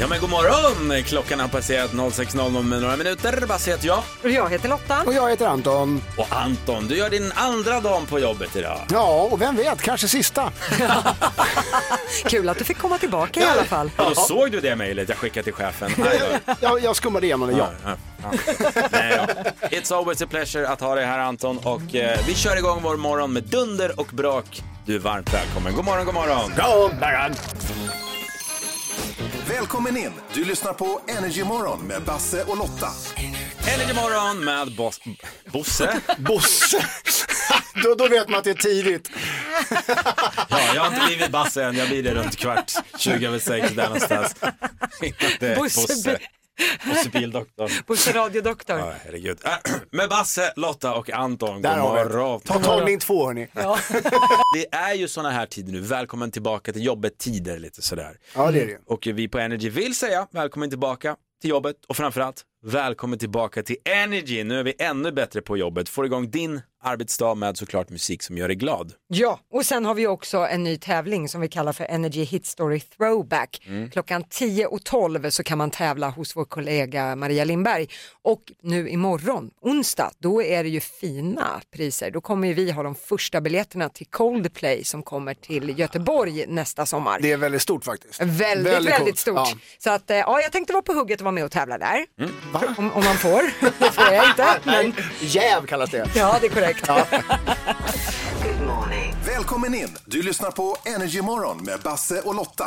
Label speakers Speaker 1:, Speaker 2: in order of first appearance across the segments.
Speaker 1: Ja men god morgon! Klockan har passerat 06.00 med några minuter. Basse heter jag.
Speaker 2: Jag heter Lotta.
Speaker 3: Och jag heter Anton.
Speaker 1: Och Anton, du gör din andra dag på jobbet idag.
Speaker 3: Ja, och vem vet, kanske sista.
Speaker 2: Kul att du fick komma tillbaka i alla fall.
Speaker 1: Ja, då såg du det mejlet jag skickade till chefen? Aj då.
Speaker 3: Jag, jag skummade igenom det, ja.
Speaker 1: Ja, ja, ja. Nej, då. It's always a pleasure att ha dig här Anton och eh, vi kör igång vår morgon med dunder och brak. Du är varmt välkommen. God morgon, god morgon.
Speaker 4: Välkommen in! Du lyssnar på Energy Morgon med Basse och Lotta.
Speaker 1: Energy morgon med Bos Bosse.
Speaker 3: Bosse. då, då vet man att det är tidigt.
Speaker 1: Ja, jag har inte blivit Basse än. Jag blir det runt kvart, 20 över sex där någonstans. Innan det är
Speaker 2: Bosse
Speaker 1: Bosse. Bosse Bildoktorn.
Speaker 2: Bosse radiodoktor.
Speaker 1: Ja, herregud. Äh, Med Basse, Lotta och Anton, god
Speaker 3: Där har vi
Speaker 1: morgon.
Speaker 3: det. Ta tagning två, hörni.
Speaker 1: Det är ju såna här tider nu, välkommen tillbaka till jobbet-tider lite sådär.
Speaker 3: Ja, det är det ju.
Speaker 1: Och vi på Energy vill säga välkommen tillbaka till jobbet och framförallt välkommen tillbaka till Energy. Nu är vi ännu bättre på jobbet, får igång din arbetsdag med såklart musik som gör dig glad.
Speaker 2: Ja, och sen har vi också en ny tävling som vi kallar för Energy Hit Story Throwback.
Speaker 3: Mm.
Speaker 2: Klockan 10 och 12 så kan man tävla hos vår kollega Maria Lindberg. Och nu imorgon, onsdag, då är det ju fina priser. Då kommer ju vi ha de första biljetterna till Coldplay som kommer till Göteborg nästa sommar.
Speaker 3: Det är väldigt stort faktiskt.
Speaker 2: Väldigt, väldigt,
Speaker 3: coolt.
Speaker 2: stort.
Speaker 3: Ja. Mm.
Speaker 2: Så att, eh, ja, jag tänkte vara på hugget och vara med och tävla där. Om, om man får. Det får jag inte. Men,
Speaker 3: Jäv kallas det.
Speaker 2: ja, det är korrekt.
Speaker 4: Välkommen in! Du lyssnar på Energy Morgon med Basse och Lotta.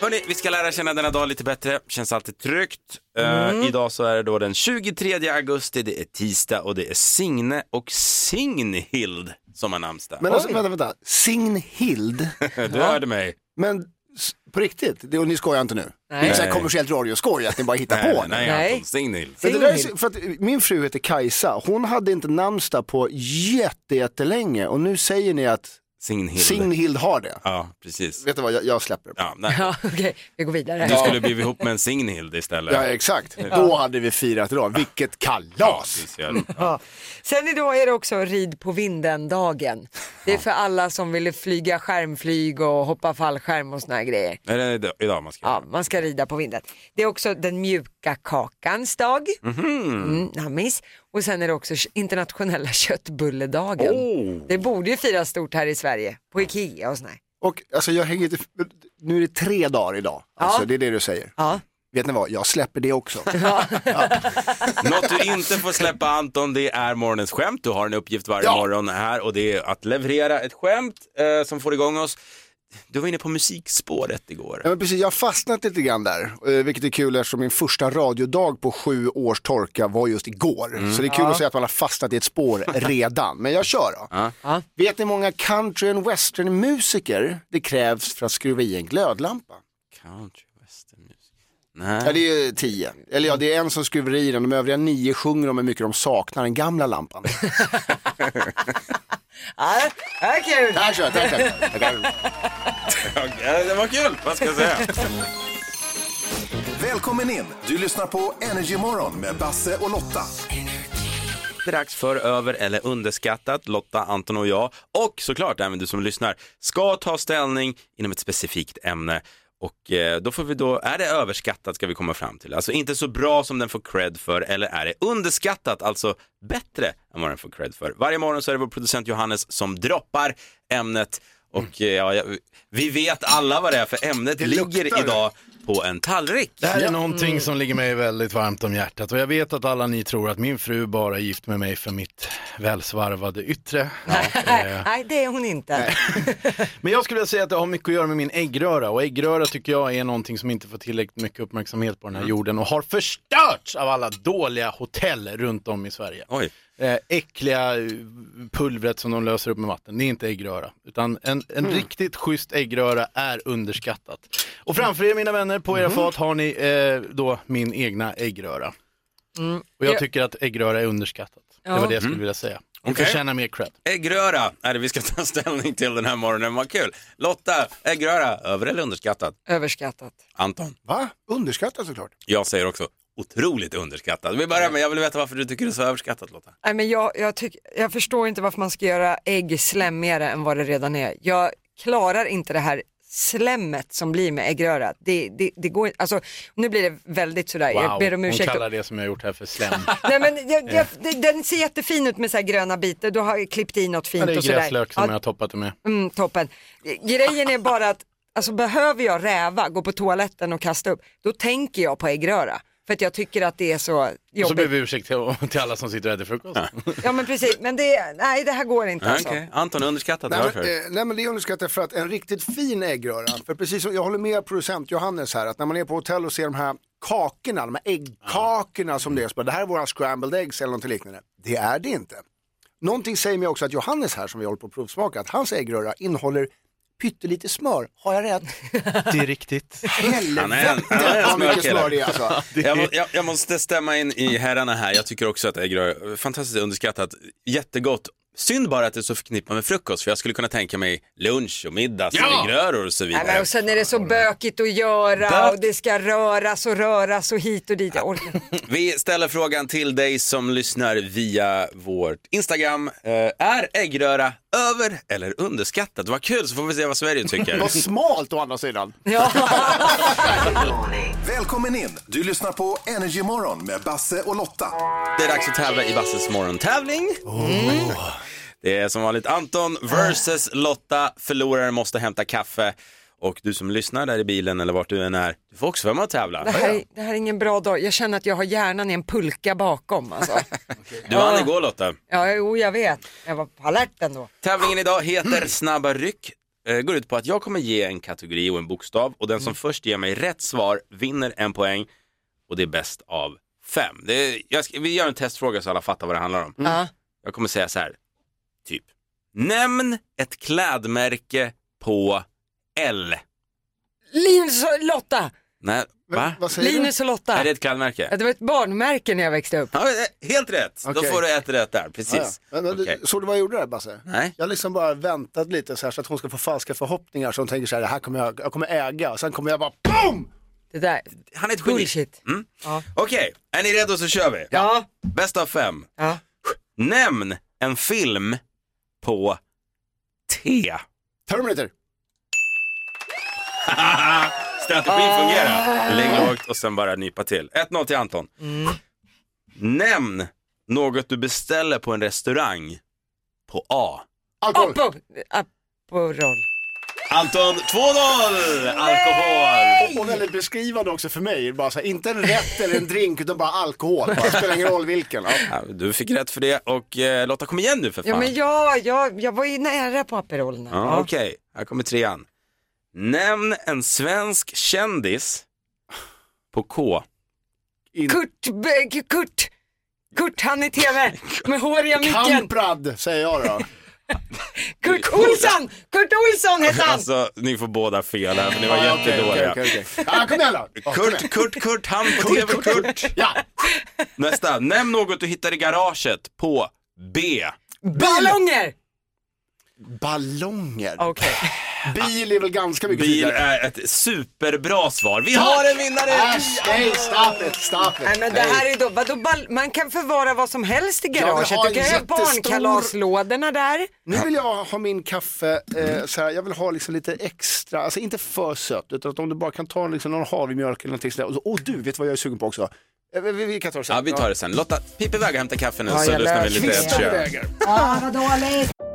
Speaker 1: Hörni, vi ska lära känna denna dag lite bättre, känns alltid tryggt. Eh, idag så är det då den 23 augusti, det är tisdag och det är Signe och Signhild som har namnsdag. Eh,
Speaker 3: Men alltså, vänta, vänta. Signhild.
Speaker 1: Du hörde mig.
Speaker 3: Men s- på riktigt, det, och ni skojar inte nu?
Speaker 2: Nej.
Speaker 3: Det är så här kommersiellt radioskoj att ni bara hittar på.
Speaker 1: Nej,
Speaker 3: nu.
Speaker 1: nej,
Speaker 2: Nej.
Speaker 1: Anton, Signhild.
Speaker 3: Men det där är, så- för att min fru heter Kajsa, hon hade inte namnsdag på jätte, jättelänge och nu säger ni att
Speaker 1: Signhild.
Speaker 3: Signhild har det.
Speaker 1: Ja, precis.
Speaker 3: Vet du vad, jag, jag släpper det.
Speaker 1: Ja, nej.
Speaker 2: Ja, Okej, vi går vidare.
Speaker 1: Du skulle blivit ihop med en Signhild istället.
Speaker 3: Ja, exakt. Då hade vi firat idag. Vilket kalas!
Speaker 1: Precis, ja.
Speaker 2: Ja. Sen idag är det också rid på vinden-dagen. Det är för alla som vill flyga skärmflyg och hoppa fallskärm och såna här grejer.
Speaker 1: Är det idag- idag man ska
Speaker 2: Ja, man ska rida på vinden. Det är också den mjuka kakans dag. Mm, nammis. Och sen är det också internationella köttbulledagen. Det borde ju firas stort här i Sverige, på Ikea och sådär.
Speaker 3: Och alltså, jag hänger inte... Nu är det tre dagar idag. Alltså, det är det du säger.
Speaker 2: Ja.
Speaker 3: Vet ni vad, jag släpper det också.
Speaker 1: Något du inte får släppa Anton, det är morgonens skämt. Du har en uppgift varje
Speaker 3: Ja.
Speaker 1: morgon här och det är att leverera ett skämt eh, som får igång oss. Du var inne på musikspåret igår.
Speaker 3: Ja, men precis, jag har fastnat lite grann där, eh, vilket är kul eftersom min första radiodag på sju års torka var just igår. Så det är kul att säga att man har fastnat i ett spår redan, men jag kör då.
Speaker 2: Ja.
Speaker 3: Vet ni hur många country and western musiker det krävs för att skruva i en glödlampa?
Speaker 1: Country, western music.
Speaker 3: Ja,
Speaker 1: Nej,
Speaker 3: det är ju tio. Eller ja, det är en som skruvar i den, de övriga nio sjunger om hur mycket de saknar den gamla lampan.
Speaker 2: Ja, det är kul.
Speaker 3: Tack så mycket, tack så mycket. Tack så mycket.
Speaker 1: Ja, det var kul, vad ska jag säga?
Speaker 4: Välkommen in! Du lyssnar på Energy Morgon med Basse och Lotta.
Speaker 1: Det är dags för över eller underskattat, Lotta, Anton och jag och såklart även du som lyssnar ska ta ställning inom ett specifikt ämne och eh, då får vi då, är det överskattat ska vi komma fram till, alltså inte så bra som den får cred för eller är det underskattat, alltså bättre än vad den får cred för. Varje morgon så är det vår producent Johannes som droppar ämnet och eh, ja, jag- vi vet alla vad det är för ämnet ligger idag på en tallrik.
Speaker 5: Det här är någonting som ligger mig väldigt varmt om hjärtat och jag vet att alla ni tror att min fru bara är gift med mig för mitt välsvarvade yttre. Eh,
Speaker 2: Nej, det är hon inte.
Speaker 5: Men jag skulle vilja säga att det har mycket att göra med min äggröra och äggröra tycker jag är någonting som inte får tillräckligt mycket uppmärksamhet på den här jorden och har förstörts av alla dåliga hotell runt om i Sverige.
Speaker 1: Oj,
Speaker 5: Eh, äckliga eh, pulvret som de löser upp med vatten, det är inte äggröra. Utan en, en
Speaker 2: Mm.
Speaker 5: riktigt schysst äggröra är underskattat. Och framför er mina vänner, på era
Speaker 2: Mhm.
Speaker 5: fat har ni eh, då min egna äggröra. Och jag
Speaker 2: Ja.
Speaker 5: tycker att äggröra är underskattat. Det
Speaker 2: Mm. Ja. Mm.
Speaker 5: var det jag skulle vilja säga. Hon
Speaker 1: Okej.
Speaker 5: förtjänar mer cred.
Speaker 1: Äggröra är det vi ska ta ställning till den här morgonen. Vad kul. Lotta, äggröra, över eller underskattat?
Speaker 2: Överskattat.
Speaker 1: Anton,
Speaker 3: Va? Underskattat såklart.
Speaker 1: jag säger också otroligt underskattat. Vi börjar med, jag vill veta varför du tycker det är så överskattat Lotta.
Speaker 2: Nej, men jag, jag, tyck, jag förstår inte varför man ska göra ägg slemmigare än vad det redan är. Jag klarar inte det här slemmet som blir med äggröra. Det, det, det går, alltså, nu blir det väldigt sådär,
Speaker 5: Wow,
Speaker 2: jag ber om
Speaker 5: hon
Speaker 2: ursäkt.
Speaker 5: kallar det som jag gjort här för slem.
Speaker 2: Nej, men jag, jag, det- den ser jättefin ut med så här gröna bitar, du har jag klippt i något
Speaker 5: Ja,
Speaker 2: fint
Speaker 5: det är
Speaker 2: och sådär.
Speaker 5: gräslök som
Speaker 2: Ja,
Speaker 5: jag har toppat det med.
Speaker 2: Mm, toppen. Grejen är bara att alltså, behöver jag räva, gå på toaletten och kasta upp, då tänker jag på äggröra. För att jag tycker att det är så
Speaker 5: Och så ber
Speaker 2: jobbigt.
Speaker 5: vi ursäkt till, till alla som sitter och äter frukost.
Speaker 2: Ja men precis, men det, nej det här går inte alltså.
Speaker 1: Okej. Anton, underskattat,
Speaker 3: Nej
Speaker 1: varför?
Speaker 3: men, eh, nej men det underskattar jag för att en riktigt fin äggröra, för precis som jag håller med producent Johannes här, att när man är på hotell och ser de här kakorna, de här äggkakorna som det är, så bara, det här är våra scrambled eggs eller något liknande. Det är det inte. Någonting säger mig också att Johannes här som vi håller på att provsmaka, att hans äggröra innehåller pyttelite smör. Har jag rätt?
Speaker 5: Det är riktigt.
Speaker 1: Han är en- han är
Speaker 3: Helvete
Speaker 1: en
Speaker 3: vad mycket
Speaker 1: smörkille.
Speaker 3: smör det är alltså.
Speaker 1: Jag, må- jag, jag måste stämma in i herrarna här. Jag tycker också att äggröra, fantastiskt underskattat, jättegott. Synd bara att det är så förknippat med frukost, för jag skulle kunna tänka mig lunch och middag,
Speaker 5: Ja!
Speaker 1: äggröror och så vidare.
Speaker 2: Nej, men och sen är det så bökigt att göra
Speaker 1: Bök-
Speaker 2: och det ska röras och röras och hit och dit. Jag orkar inte.
Speaker 1: Vi ställer frågan till dig som lyssnar via vårt Instagram. Eh, är äggröra över eller underskattat? Vad kul, så får vi se vad Sverige tycker.
Speaker 3: Vad smalt å andra sidan.
Speaker 4: Välkommen in! Du lyssnar på Energy Morgon med Basse och Lotta.
Speaker 1: Det är dags att tävla i Basses morgontävling. Mm. Det är som vanligt Anton versus Lotta. Förloraren måste hämta kaffe. Och du som lyssnar där i bilen eller vart du än är, du får också vara med och tävla.
Speaker 2: Det, här, är- det här är ingen bra dag. Jag känner att jag har hjärnan i en pulka bakom. Alltså.
Speaker 1: Du vann igår Lotta.
Speaker 2: Ja, jo, jag vet. Jag var på alerten då.
Speaker 1: Tävlingen idag heter Snabba ryck. Eh, Går ut på att jag kommer ge en kategori och en bokstav och
Speaker 3: Mm.
Speaker 1: den som först ger mig rätt svar vinner en poäng och det är bäst av fem. Det är, jag ska, vi gör en testfråga så alla fattar vad det handlar om.
Speaker 2: Ja.
Speaker 1: Jag kommer säga så här, typ. Nämn ett klädmärke på L.
Speaker 2: Linus och Lotta!
Speaker 1: Nej, va?
Speaker 3: Vad säger du?
Speaker 2: Linus och Lotta.
Speaker 1: Är det ett klädmärke?
Speaker 2: Ja, det var ett barnmärke när jag växte upp.
Speaker 1: Ja, eh, helt rätt! Då
Speaker 3: Okej.
Speaker 1: får du ett rätt där,
Speaker 3: Ja, ja.
Speaker 1: precis.
Speaker 3: Men, men, du-
Speaker 1: Okej.
Speaker 3: Såg du vad jag gjorde där Basse?
Speaker 1: Nej.
Speaker 3: Jag har liksom bara väntat lite så, här, så att hon ska få falska förhoppningar så hon tänker så här, det här kommer jag, jag kommer äga och sen kommer jag bara BOOM!
Speaker 2: Det där.
Speaker 1: Han är ett geni.
Speaker 2: Bullshit.
Speaker 1: Mm.
Speaker 2: Ja.
Speaker 1: Okej, är ni redo så kör vi.
Speaker 2: Ja.
Speaker 1: Bäst av fem.
Speaker 2: ja.
Speaker 1: Nämn en film på T.
Speaker 3: Terminator!
Speaker 1: Strategin
Speaker 2: Ah.
Speaker 1: fungerar. Lägg lågt och sen bara nypa till. 1-0 till Anton.
Speaker 2: Mm.
Speaker 1: Nämn något du beställer på en restaurang på A.
Speaker 3: Alkohol!
Speaker 2: Apo. Aporol.
Speaker 1: Anton, 2-0! Alkohol!
Speaker 3: Och väldigt beskrivande också för mig, bara så här, inte en rätt eller en drink utan bara alkohol. Bara, det spelar ingen roll vilken. Ja.
Speaker 1: Ja, Du fick rätt för det och eh, Lotta kom igen nu för fan.
Speaker 2: Ja, men ja, jag, jag var ju nära på Aperol. nu.
Speaker 1: Ja, Okej, här kommer trean. Nämn en svensk kändis på K.
Speaker 2: Kurt, B- Kurt, Kurt, han i tv med håriga micken.
Speaker 3: Kamprad säger jag då.
Speaker 2: Kurt Olsson! Kurt Olsson hette han!
Speaker 1: Alltså, ni får båda fel här för ni var
Speaker 3: Ja, okej,
Speaker 1: jättedåliga.
Speaker 3: okej, okej, okej. Ja, kom igen då! Ja, kom igen.
Speaker 1: Kurt, Kurt, Kurt, han på TV, Kurt.
Speaker 3: Ja,
Speaker 1: Nästa, nämn något du hittar i garaget på B.
Speaker 2: Ballonger!
Speaker 3: ballonger.
Speaker 2: Okej.
Speaker 3: Bil är väl ganska mycket
Speaker 1: Bil
Speaker 3: tydligare.
Speaker 1: är ett superbra svar. Vi har en vinnare!
Speaker 3: Äsch, nej, stop it, stop it.
Speaker 2: Nej men det här är då, vadå, ball, man kan förvara vad som helst i garaget.
Speaker 3: ha
Speaker 2: Du kan
Speaker 3: en
Speaker 2: ju ha
Speaker 3: jättestor-
Speaker 2: barnkalaslådorna där.
Speaker 3: Nu vill jag ha min kaffe, eh, så här, jag vill ha liksom lite extra, alltså inte för sött, utan att om du bara kan ta liksom någon havremjölk eller någonting sådär. Och, så, och du, vet du vad jag är sugen på också? Eh, Vi, vi kan ta det sen.
Speaker 1: Ja, vi tar det sen. Lotta, pip iväg och hämta kaffe nu
Speaker 2: Ja,
Speaker 1: så
Speaker 2: jag
Speaker 1: lyssnar vi
Speaker 2: löser
Speaker 1: lite
Speaker 2: det.
Speaker 1: Ed Sheeran.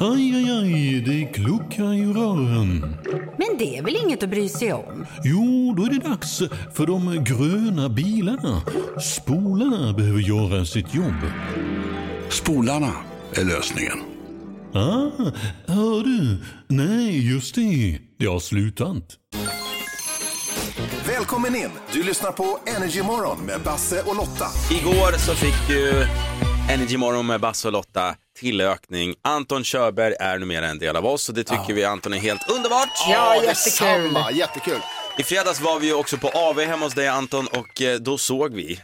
Speaker 6: Aj, aj, aj, det kluckar i rören.
Speaker 7: Men det är väl inget att bry sig om?
Speaker 6: Jo, då är det dags för de gröna bilarna. Spolarna behöver göra sitt jobb.
Speaker 8: Spolarna är lösningen.
Speaker 6: Ah, hör du? Nej, just det. Det har slutat.
Speaker 4: Välkommen in! Du lyssnar på Energymorgon med Basse och Lotta.
Speaker 1: Igår så fick ju Energy Morgon med Basse och Lotta tillökning. Anton Körberg är numera en del av oss och det tycker vi Anton är helt underbart.
Speaker 3: Ja, jättekul. detsamma. Jättekul.
Speaker 1: I fredags var vi ju också på AV hemma hos dig Anton och eh, då såg vi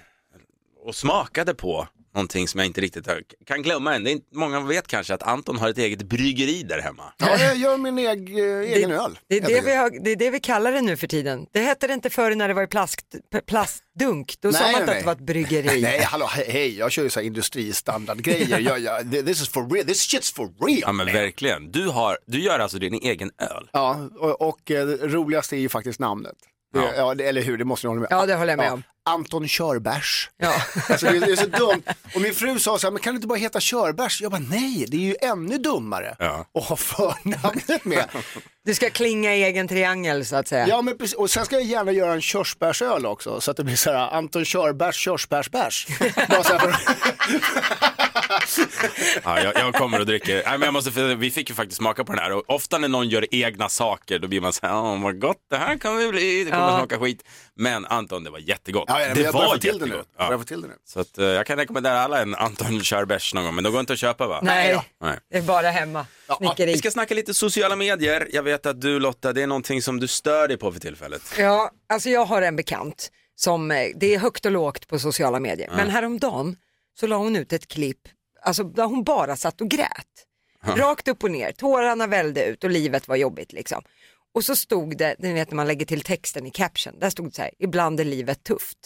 Speaker 1: och smakade på någonting som jag inte riktigt har- kan glömma än. Det är inte, många vet kanske att Anton har ett eget bryggeri där hemma.
Speaker 3: Ja, jag gör min eg, egen öl.
Speaker 2: Det är
Speaker 3: helt
Speaker 2: det,
Speaker 3: enkelt.
Speaker 2: vi har, det är det vi kallar det nu för tiden. Det hette det inte förr när det var i plast, p- plastdunk. Då sa man inte att det var ett bryggeri.
Speaker 3: Nej, hallå, he- hej, jag kör ju så här industristandardgrejer. jag, jag, this is for real, this shit's for real.
Speaker 1: Ja men verkligen. Du, har, du gör alltså din egen öl.
Speaker 3: Ja, och, och eh, det roligaste är ju faktiskt namnet. Det, ja. det, eller hur, det måste ni hålla med
Speaker 2: Ja, det håller jag med om.
Speaker 3: Anton Körbärs. Alltså, det, är- det är så dumt. Och min fru sa så här, men kan du inte bara heta Körbärs? Jag bara, nej, det är ju ännu dummare
Speaker 1: Ja.
Speaker 3: att ha förnamnet med.
Speaker 2: Du ska klinga i egen triangel så att säga.
Speaker 3: Ja, men precis. Och sen ska jag gärna göra en körsbärsöl också, så att det blir så här Anton Körbärs körsbärsbärs. Bara så här för-
Speaker 1: Ja, jag, jag kommer och dricker. Nej, men jag måste, för vi fick ju faktiskt smaka på den här och ofta när någon gör egna saker då blir man så här, åh vad gott det här kommer bli, det kommer
Speaker 3: Ja.
Speaker 1: smaka skit. Men Anton, det var jättegott.
Speaker 3: Ja, ja, men
Speaker 1: det
Speaker 3: jag
Speaker 1: var
Speaker 3: börjar få till det nu. Jag börjar få till det nu.
Speaker 1: Så att, eh, jag kan rekommendera alla en Anton Körbärs någon gång, men de går inte att köpa va?
Speaker 2: Nej.
Speaker 1: Nej.
Speaker 2: Det är bara hemma. Snickeri.
Speaker 1: Vi ska snacka lite sociala medier. Jag vet att du Lotta, det är någonting som du stör dig på för tillfället.
Speaker 2: Ja, alltså jag har en bekant som, eh, det är högt och lågt på sociala medier,
Speaker 1: Ja.
Speaker 2: men häromdagen så la hon ut ett klipp, alltså där hon bara satt och grät. Rakt upp och ner, tårarna vällde ut och livet var jobbigt liksom. Och så stod det, ni vet när man lägger till texten i caption, där stod det så här, ibland är livet tufft.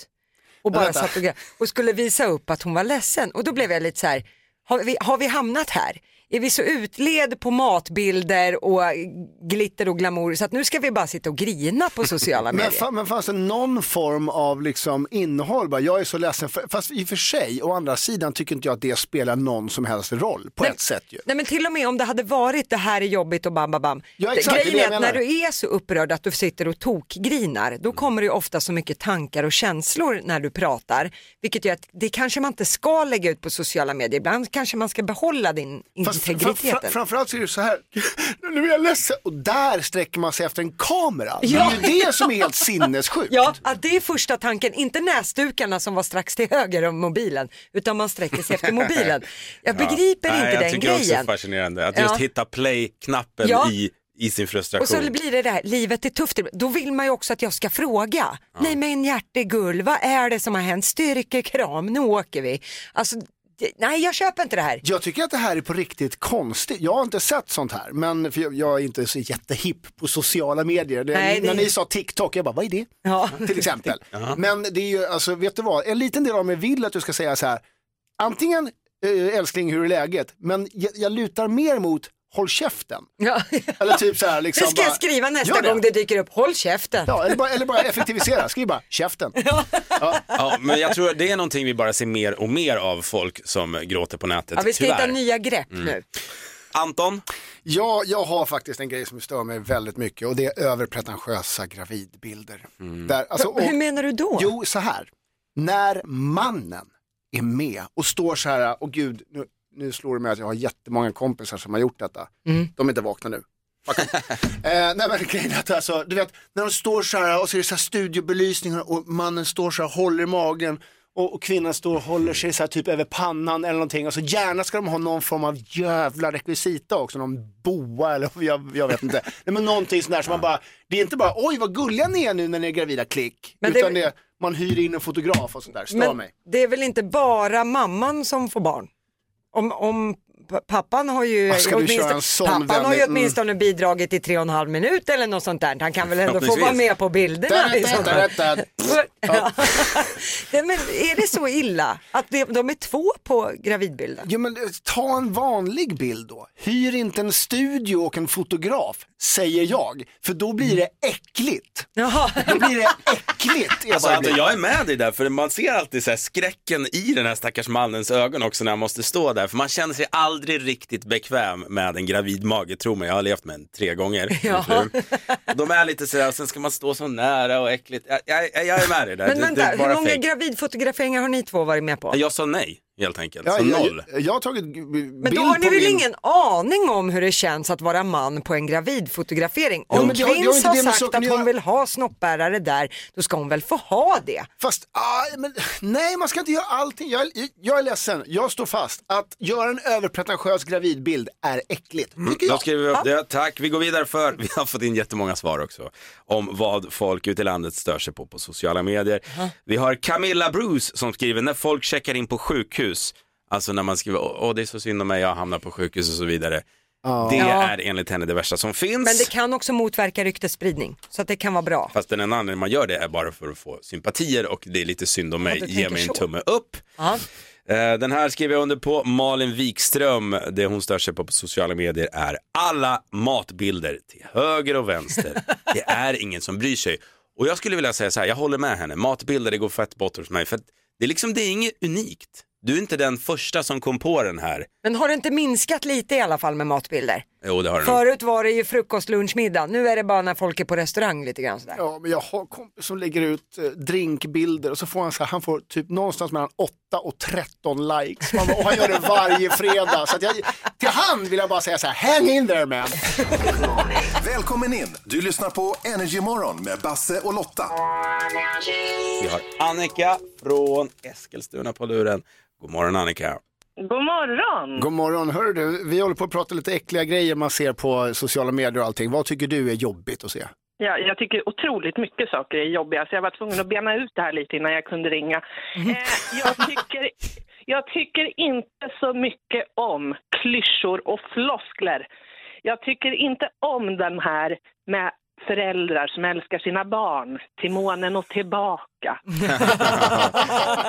Speaker 2: Och
Speaker 7: Men
Speaker 2: bara
Speaker 7: vänta.
Speaker 2: satt och grät och skulle visa upp att hon var ledsen och då blev jag lite så här, har vi, har vi hamnat här? Är vi så utled på matbilder och glitter och glamour så att nu ska vi bara sitta och grina på sociala
Speaker 3: Men,
Speaker 2: medier?
Speaker 3: fa- men fanns det någon form av liksom innehåll? Bara, jag är så ledsen, för, fast i och för sig, å andra sidan tycker inte jag att det spelar någon som helst roll på ett sätt ju.
Speaker 2: Nej men till och med om det hade varit det här är jobbigt och bam bam bam.
Speaker 3: Ja, exakt,
Speaker 2: Grejen
Speaker 3: det är
Speaker 2: är
Speaker 3: det
Speaker 2: att
Speaker 3: jag
Speaker 2: när
Speaker 3: menar. Mm.
Speaker 2: du är så upprörd att du sitter och tokgrinar då kommer det ju ofta så mycket tankar och känslor när du pratar. Vilket gör att det kanske man inte ska lägga ut på sociala medier. Ibland kanske man ska behålla din
Speaker 3: Fast fra-
Speaker 2: integritet.
Speaker 3: fra- framförallt så är det så här, nu är jag ledsen, och där sträcker man sig efter en kamera.
Speaker 2: Ja.
Speaker 3: Det är ju det som är helt sinnessjukt.
Speaker 2: Ja, att det är första tanken, inte näsdukarna som var strax till höger om mobilen, utan man sträcker sig efter mobilen. Jag begriper
Speaker 1: Nej,
Speaker 2: inte
Speaker 1: jag
Speaker 2: den
Speaker 1: tycker
Speaker 2: grejen.
Speaker 1: också det är fascinerande att
Speaker 2: Ja.
Speaker 1: just hitta play-knappen
Speaker 2: Ja.
Speaker 1: i, i sin frustration.
Speaker 2: Och så blir det det här, livet är tufft, då vill man ju också att jag ska fråga. Nej men hjärtegull, vad är det som har hänt? Styrkekram, nu åker vi. Alltså, det, nej jag köper inte det här.
Speaker 3: Jag tycker att det här är på riktigt konstigt. Jag har inte sett sånt här, men för jag, jag är inte så jättehipp på sociala medier. Det,
Speaker 2: Nej, det-
Speaker 3: När ni sa TikTok, jag bara, vad är det? Till exempel. Men det är ju, alltså vet du vad, en liten del av mig vill att du ska säga så här, antingen eh, älskling hur är läget, men jag, jag lutar mer mot håll käften. Eller typ så här, liksom
Speaker 2: det ska jag
Speaker 3: bara,
Speaker 2: skriva nästa
Speaker 3: gör
Speaker 2: gång det dyker upp, håll käften.
Speaker 3: Ja, eller bara, eller bara effektivisera, skriv bara käften.
Speaker 1: Ja, men jag tror att det är någonting vi bara ser mer och mer av folk som gråter på nätet.
Speaker 2: Ja, vi ska
Speaker 1: Tyvärr.
Speaker 2: hitta nya grepp
Speaker 1: Mm.
Speaker 2: nu.
Speaker 1: Anton?
Speaker 3: Ja, jag har faktiskt en grej som stör mig väldigt mycket och det är överpretentiösa gravidbilder. Där, alltså,
Speaker 2: Mm. Hur menar du då?
Speaker 3: Jo, så här. När mannen är med och står så här, och gud, nu, nu slår det mig att jag har jättemånga kompisar som har gjort detta. De är inte vakna nu. Fuck them. eh, nej men grejen är att alltså, du vet, när de står så här och så är det så här studiobelysningar och mannen står så här, håller i magen och, och kvinnan står och håller sig så här typ över pannan eller någonting. Alltså gärna ska de ha någon form av jävla rekvisita också, någon boa eller jag, jag vet inte. Nej, men någonting sånt där som man bara, det är inte bara oj vad gulliga ni är nu när ni är gravida, klick.
Speaker 2: Men det-
Speaker 3: utan det... är man hyr in en fotograf och sånt där, stör mig.
Speaker 2: det är väl inte bara mamman som får barn? Om, om p- pappan har ju,
Speaker 3: Vad ska du
Speaker 2: åtminstone,
Speaker 3: köra en sån
Speaker 2: pappan har
Speaker 3: vändning?
Speaker 2: ju
Speaker 3: Mm.
Speaker 2: åtminstone bidragit i tre och en halv minut eller något sånt där. Han kan väl ändå få
Speaker 3: Förhoppningsvis.
Speaker 2: vara med på bilderna. i så fall. Nej, men är det så illa att de, de är två på gravidbilden?
Speaker 3: Ja, men eh, ta en vanlig bild då. Hyr inte en studio och en fotograf, säger jag. För då blir det äckligt. Då blir det äckligt.
Speaker 1: Alltså,
Speaker 3: bara-
Speaker 1: Anton, jag är med dig där, för man ser alltid så här skräcken i den här stackars mannens ögon också när han måste stå där, för man känner sig aldrig riktigt bekväm med en gravid mage, tro mig, jag har levt med en tre gånger.
Speaker 2: Ja.
Speaker 1: min fru. Och De är lite sådär, och sen ska man stå så nära och äckligt. Jag, jag, jag är med dig där,
Speaker 2: Men
Speaker 1: det, det
Speaker 2: vänta,
Speaker 1: är bara
Speaker 2: hur många
Speaker 1: fake.
Speaker 2: gravidfotograferingar har ni två varit med på?
Speaker 1: Jag sa nej. helt enkelt.
Speaker 3: Ja,
Speaker 1: så
Speaker 3: jag-
Speaker 1: alltså noll.
Speaker 3: Jag, jag har tagit g- bild
Speaker 2: Men då har ni
Speaker 3: på
Speaker 2: väl
Speaker 3: min...
Speaker 2: ingen aning om hur det känns att vara man på en gravidfotografering?
Speaker 3: Jo,
Speaker 2: Om
Speaker 3: men det har- det har
Speaker 2: Prins
Speaker 3: inte
Speaker 2: har
Speaker 3: det med
Speaker 2: sagt
Speaker 3: saken
Speaker 2: att
Speaker 3: att
Speaker 2: hon
Speaker 3: göra.
Speaker 2: vill ha snoppbärare där, då ska hon väl få ha det?
Speaker 3: Fast, aj, men, nej man ska inte göra allting. Jag, är- jag är ledsen, jag står fast. Att göra en överpretentiös gravidbild är äckligt. Tycker
Speaker 1: Då
Speaker 3: jag.
Speaker 1: skriver vi upp det. Tack, vi går vidare för vi har fått in jättemånga svar också om vad folk ute i landet stör sig på på sociala medier. Vi har Camilla Bruce som skriver när folk checkar in på sjukhus, alltså när man skriver åh åh, det är så synd om mig, jag hamnar på sjukhus och så vidare. Det
Speaker 2: Ja.
Speaker 1: är enligt henne det värsta som
Speaker 2: Men det
Speaker 1: finns.
Speaker 2: kan också motverka ryktesspridning, så att det kan vara bra.
Speaker 1: Fast den enda anledningen man gör det är bara för att få sympatier och det är lite synd om mig,
Speaker 2: du
Speaker 1: ge
Speaker 2: tänker
Speaker 1: mig en
Speaker 2: så.
Speaker 1: tumme upp.
Speaker 2: Ja.
Speaker 1: Eh, Den här skriver jag under på, Malin Wikström, det hon stör sig på på sociala medier är alla matbilder till höger och vänster. Det är ingen som bryr sig. Och jag skulle vilja säga så här, jag håller med henne, matbilder det går fett bort hos mig för att det är liksom, det är inget unikt. Du är inte den första som kom på den här.
Speaker 2: Men har det inte minskat lite i alla fall med matbilder?
Speaker 1: Jo det har du nog.
Speaker 2: Förut var det ju frukost, lunch, middag. Nu är det bara när folk är på restaurang lite grann sådär.
Speaker 3: Ja, men jag har kompis som lägger ut eh, drinkbilder och så får han så här, han får typ någonstans mellan 8 och 13 likes. Man bara, och han gör det varje fredag. Så att jag, till han vill jag bara säga så här, hang in there man.
Speaker 4: Välkommen in! Du lyssnar på Energy Morgon med Basse och Lotta.
Speaker 1: Vi har Annika från Eskilstuna på luren. God morgon Annika.
Speaker 9: God morgon!
Speaker 3: God morgon, hör du, vi håller på att prata lite äckliga grejer man ser på sociala medier och allting. Vad tycker du är jobbigt att se?
Speaker 9: Ja, jag tycker otroligt mycket saker är jobbiga, så jag var tvungen att bena ut det här lite innan jag kunde ringa. Eh, jag, tycker, jag tycker inte så mycket om klyschor och floskler. Jag tycker inte om den här med föräldrar som älskar sina barn, till månen och tillbaka.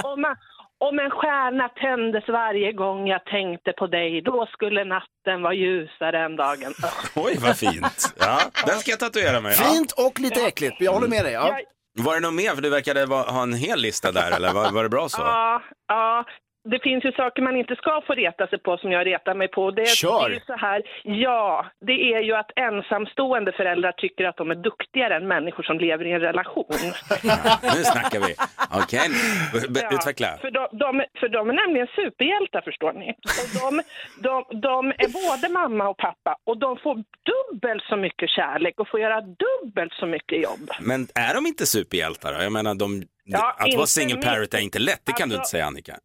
Speaker 9: om, om en stjärna tändes varje gång jag tänkte på dig, då skulle natten vara ljusare än dagen.
Speaker 1: Oj vad fint. Ja, den ska jag tatuera mig. Ja.
Speaker 3: Fint och lite äckligt, jag håller med dig. Ja.
Speaker 1: Var det något mer? För du verkade va- ha en hel lista där, eller var, var det bra så?
Speaker 9: Ja, ja. Det finns ju saker man inte ska få reta sig på som jag retar mig på. Det, är-
Speaker 1: Kör!
Speaker 9: det är ju så här, ja, det är ju att ensamstående föräldrar tycker att de är duktigare än människor som lever i en relation.
Speaker 1: Nu snackar vi. Okej, B- b- utveckla.
Speaker 9: För de, de, för de är nämligen superhjältar förstår ni. Och de, de, de är både mamma och pappa och de får dubbelt så mycket kärlek och får göra dubbelt så mycket jobb.
Speaker 1: Men är de inte superhjältar då? Jag menar, de,
Speaker 9: Ja,
Speaker 1: att vara
Speaker 9: inte
Speaker 1: single
Speaker 9: mitt-
Speaker 1: parent är inte lätt, det kan du inte
Speaker 9: Alltså-
Speaker 1: säga Annika.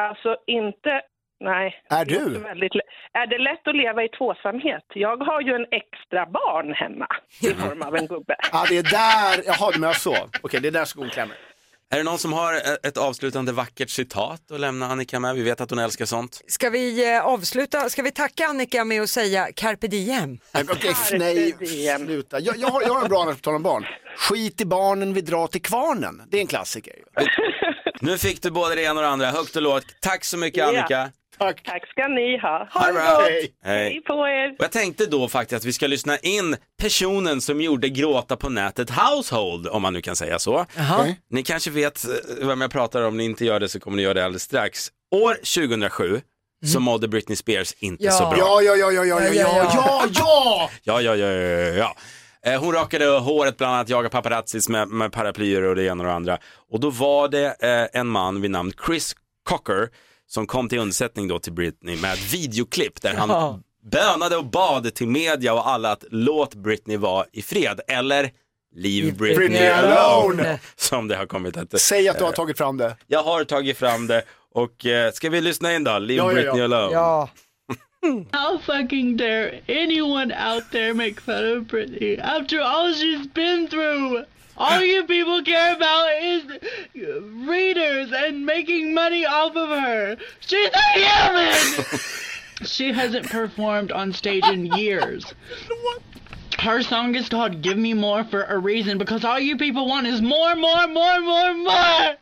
Speaker 9: Alltså inte, nej.
Speaker 1: Är
Speaker 9: Det
Speaker 1: du?
Speaker 9: låter Väldigt, lä- är det lätt att leva i tvåsamhet? Jag har ju en extra barn hemma i form av en gubbe.
Speaker 3: Ja, det är där, jaha, men jag så. Okej, det är där skon klämmer.
Speaker 1: Är det någon som har e- ett avslutande vackert citat att lämna Annika med? Vi vet att hon älskar sånt.
Speaker 2: Ska vi eh, avsluta, ska vi tacka Annika med att säga carpe diem?
Speaker 3: Okej, nej, sluta. Jag, jag, har, jag har en bra annars på tal om barn. Skit i barnen, vi drar till kvarnen. Det är en klassiker.
Speaker 1: Nu fick du både det ena och det andra, högt och lågt. Tack så mycket Annika.
Speaker 3: Tack.
Speaker 9: Tack ska ni ha.
Speaker 1: Ha det bra. Hej.
Speaker 9: Hej på er.
Speaker 1: Och jag tänkte då faktiskt att vi ska lyssna in personen som gjorde gråta på nätet household, om man nu kan säga så.
Speaker 10: Okej.
Speaker 1: Ni kanske vet eh, vem jag pratar om, om ni inte gör det så kommer ni göra det alldeles strax. År 2007 så mådde Britney Spears inte så bra.
Speaker 3: Mm. Ja, ja, ja, ja, ja, ja, ja, ja, ja!
Speaker 1: Ja, ja, ja, ja, ja. Eh, Hon rakade håret bland annat, jagade paparazzis med, med paraplyer och det ena och det andra. Och då var det eh, en man vid namn Chris Cocker som kom till undsättning då till Britney med ett videoklipp där han
Speaker 10: Ja.
Speaker 1: bönade och bad till media och alla att låt Britney vara i fred eller Leave Britney,
Speaker 3: Britney
Speaker 1: alone.
Speaker 3: alone.
Speaker 1: Som det har kommit att...
Speaker 3: Säg att du har
Speaker 1: eh,
Speaker 3: tagit fram det.
Speaker 1: Jag har tagit fram det och eh, ska vi lyssna in då? Leave
Speaker 3: Ja, ja, ja.
Speaker 1: Britney alone.
Speaker 2: Ja.
Speaker 11: How fucking dare anyone out there make fun of Britney after all she's been through? All you people care about is readers and making money off of her. She's a human! she hasn't performed on stage in years. Her song is called Give Me More for a reason because all you people want is more, more, more, more, more!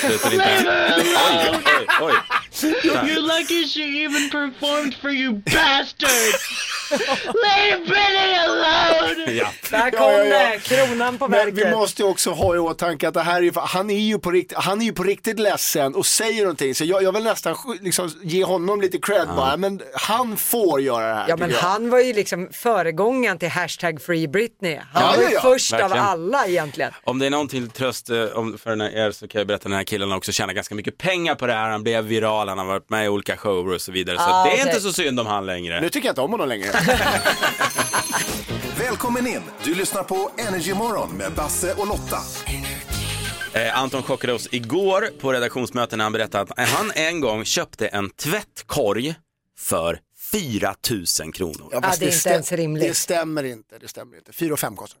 Speaker 1: Slutar inte. Oj, oj, oj.
Speaker 11: You're lucky she even performed for you bastards! Leave Britney alone!
Speaker 1: Ja.
Speaker 2: Där kom det, kronan på
Speaker 3: Men vi
Speaker 2: verket.
Speaker 3: måste ju också ha i åtanke att det här är, ju- han, är ju på rikt, han är ju på riktigt ledsen och säger någonting. Så jag, jag vill nästan sk- liksom, ge honom lite cred bara. Men han får göra det här.
Speaker 2: Ja men
Speaker 3: tycker jag.
Speaker 2: han var ju liksom föregångaren till hashtag Free Britney. Han
Speaker 1: Ja,
Speaker 2: var ju
Speaker 1: ja, ja.
Speaker 2: först
Speaker 1: Verkligen.
Speaker 2: av alla egentligen.
Speaker 1: Om det är någon till tröst eh, om, för den här- er så kan jag berätta att den här killen har också tjänat ganska mycket pengar på det här. Han blev viral, han har varit med i olika shower och så vidare. Så
Speaker 4: Ah,
Speaker 1: det är
Speaker 4: okej.
Speaker 1: inte så synd om han längre.
Speaker 3: Nu tycker jag inte om honom längre.
Speaker 4: Välkommen in! Du lyssnar på Energy Morgon med Basse och Lotta.
Speaker 1: Eh, Anton chockade oss igår på redaktionsmöten när han berättade att han en gång köpte en tvättkorg för 4 000 kronor.
Speaker 2: Ja, det är inte ens rimligt.
Speaker 3: Det stämmer inte, det stämmer inte. Fyra och fem kostar